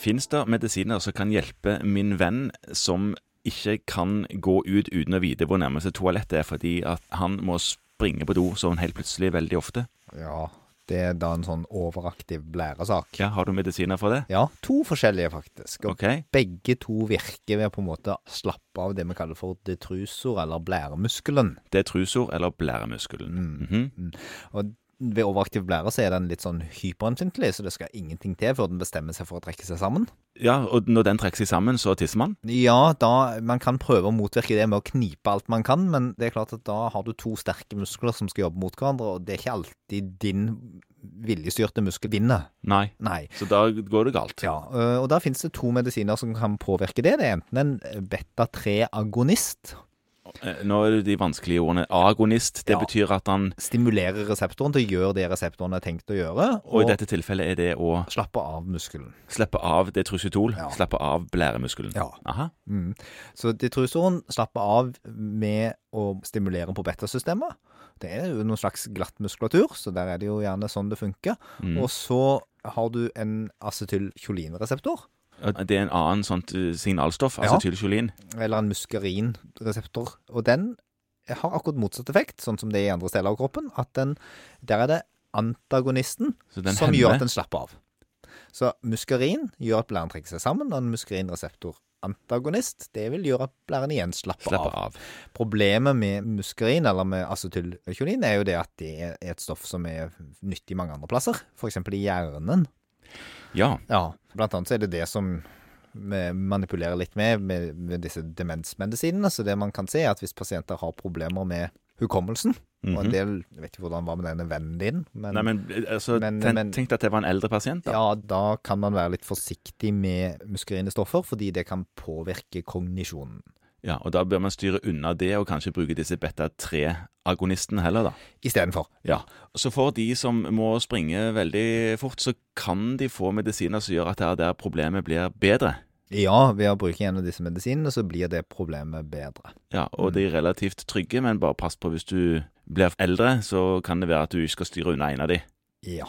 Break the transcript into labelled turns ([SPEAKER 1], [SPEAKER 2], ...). [SPEAKER 1] Fins det medisiner som kan hjelpe min venn som ikke kan gå ut uten å vite hvor nærmeste toalettet er, fordi at han må springe på do sånn helt plutselig veldig ofte?
[SPEAKER 2] Ja, det er da en sånn overaktiv blæresak.
[SPEAKER 1] Ja, Har du medisiner for det?
[SPEAKER 2] Ja, to forskjellige faktisk. Og
[SPEAKER 1] OK.
[SPEAKER 2] begge to virker ved å på en måte slappe av det vi kaller for detrusor, eller blæremuskelen.
[SPEAKER 1] Det er trusor eller blæremuskelen.
[SPEAKER 2] Mm.
[SPEAKER 1] Mhm.
[SPEAKER 2] Og ved overaktiv blære så er den litt sånn hyperempfintlig, så det skal ingenting til før den bestemmer seg for å trekke seg sammen.
[SPEAKER 1] Ja, og når den trekker seg sammen, så tisser man?
[SPEAKER 2] Ja, da, man kan prøve å motvirke det med å knipe alt man kan, men det er klart at da har du to sterke muskler som skal jobbe mot hverandre, og det er ikke alltid din viljestyrte muskel vinner.
[SPEAKER 1] Nei.
[SPEAKER 2] Nei.
[SPEAKER 1] Så da går det galt.
[SPEAKER 2] Ja, øh, og da finnes det to medisiner som kan påvirke det. Det er enten en eh, beta-3-agonist,
[SPEAKER 1] Eh, Nå er det de vanskelige ordene. Agonist, det
[SPEAKER 2] Ja.
[SPEAKER 1] betyr at han
[SPEAKER 2] stimulerer reseptoren til å gjøre det reseptoren er tenkt å gjøre,
[SPEAKER 1] Og i
[SPEAKER 2] og
[SPEAKER 1] dette tilfellet er det å
[SPEAKER 2] slappe av muskelen.
[SPEAKER 1] slippe av det trusitol.
[SPEAKER 2] Ja.
[SPEAKER 1] Slappe av blæremuskelen.
[SPEAKER 2] Ja.
[SPEAKER 1] Aha.
[SPEAKER 2] Mm. Så detrusoren slapper av med å stimulere på betasystemet. Det er jo noen slags glatt muskulatur, så der er det jo gjerne sånn det funker. Og så har du en acetylkjolinreseptor,
[SPEAKER 1] Og Det er en annen sånt eh, signalstoff,
[SPEAKER 2] Ja.
[SPEAKER 1] acetylkjolin.
[SPEAKER 2] eller en muskarinreseptor, og den har akkurat motsatt effekt, sånn som det er i andre deler av kroppen, at den, der er det antagonisten
[SPEAKER 1] Så den
[SPEAKER 2] som gjør at
[SPEAKER 1] hemmer
[SPEAKER 2] den slapper av. Så muskarin gjør at blæren trekker seg sammen, og en muskarinreseptor antagonist, det vil gjøre at blæren igjen slapper,
[SPEAKER 1] slapper
[SPEAKER 2] av.
[SPEAKER 1] av.
[SPEAKER 2] Problemet med muskarin, eller med acetylkjolin, er jo det at det er et stoff som er nyttig mange andre plasser, f.eks. i hjernen.
[SPEAKER 1] Ja.
[SPEAKER 2] Ja. Blant annet så er det det som vi manipulerer litt med, med med disse demensmedisinene. Så det man kan se, er at hvis pasienter har problemer med hukommelsen, og en
[SPEAKER 1] Mhm.
[SPEAKER 2] del Jeg vet ikke hvordan det var med denne vennen din, men,
[SPEAKER 1] Nei, men eh, altså,
[SPEAKER 2] Men-
[SPEAKER 1] ten,
[SPEAKER 2] men-
[SPEAKER 1] tenk deg at det var en eldre pasient, da.
[SPEAKER 2] ja, da kan man være litt forsiktig med muskerinestoffer, fordi det kan påvirke kognisjonen.
[SPEAKER 1] Ja, og da bør man styre unna det, og kanskje bruke disse beta-3-agonistene heller, da.
[SPEAKER 2] Istedenfor.
[SPEAKER 1] Ja, Så for de som må springe veldig fort, så kan de få medisiner som gjør at det er der problemet blir bedre.
[SPEAKER 2] Ja, ved å bruke en av disse medisinene, så blir det problemet bedre.
[SPEAKER 1] Ja, Og de er relativt trygge, men bare pass på hvis du blir eldre, så kan det være at du ikke skal styre unna en av de.
[SPEAKER 2] Ja.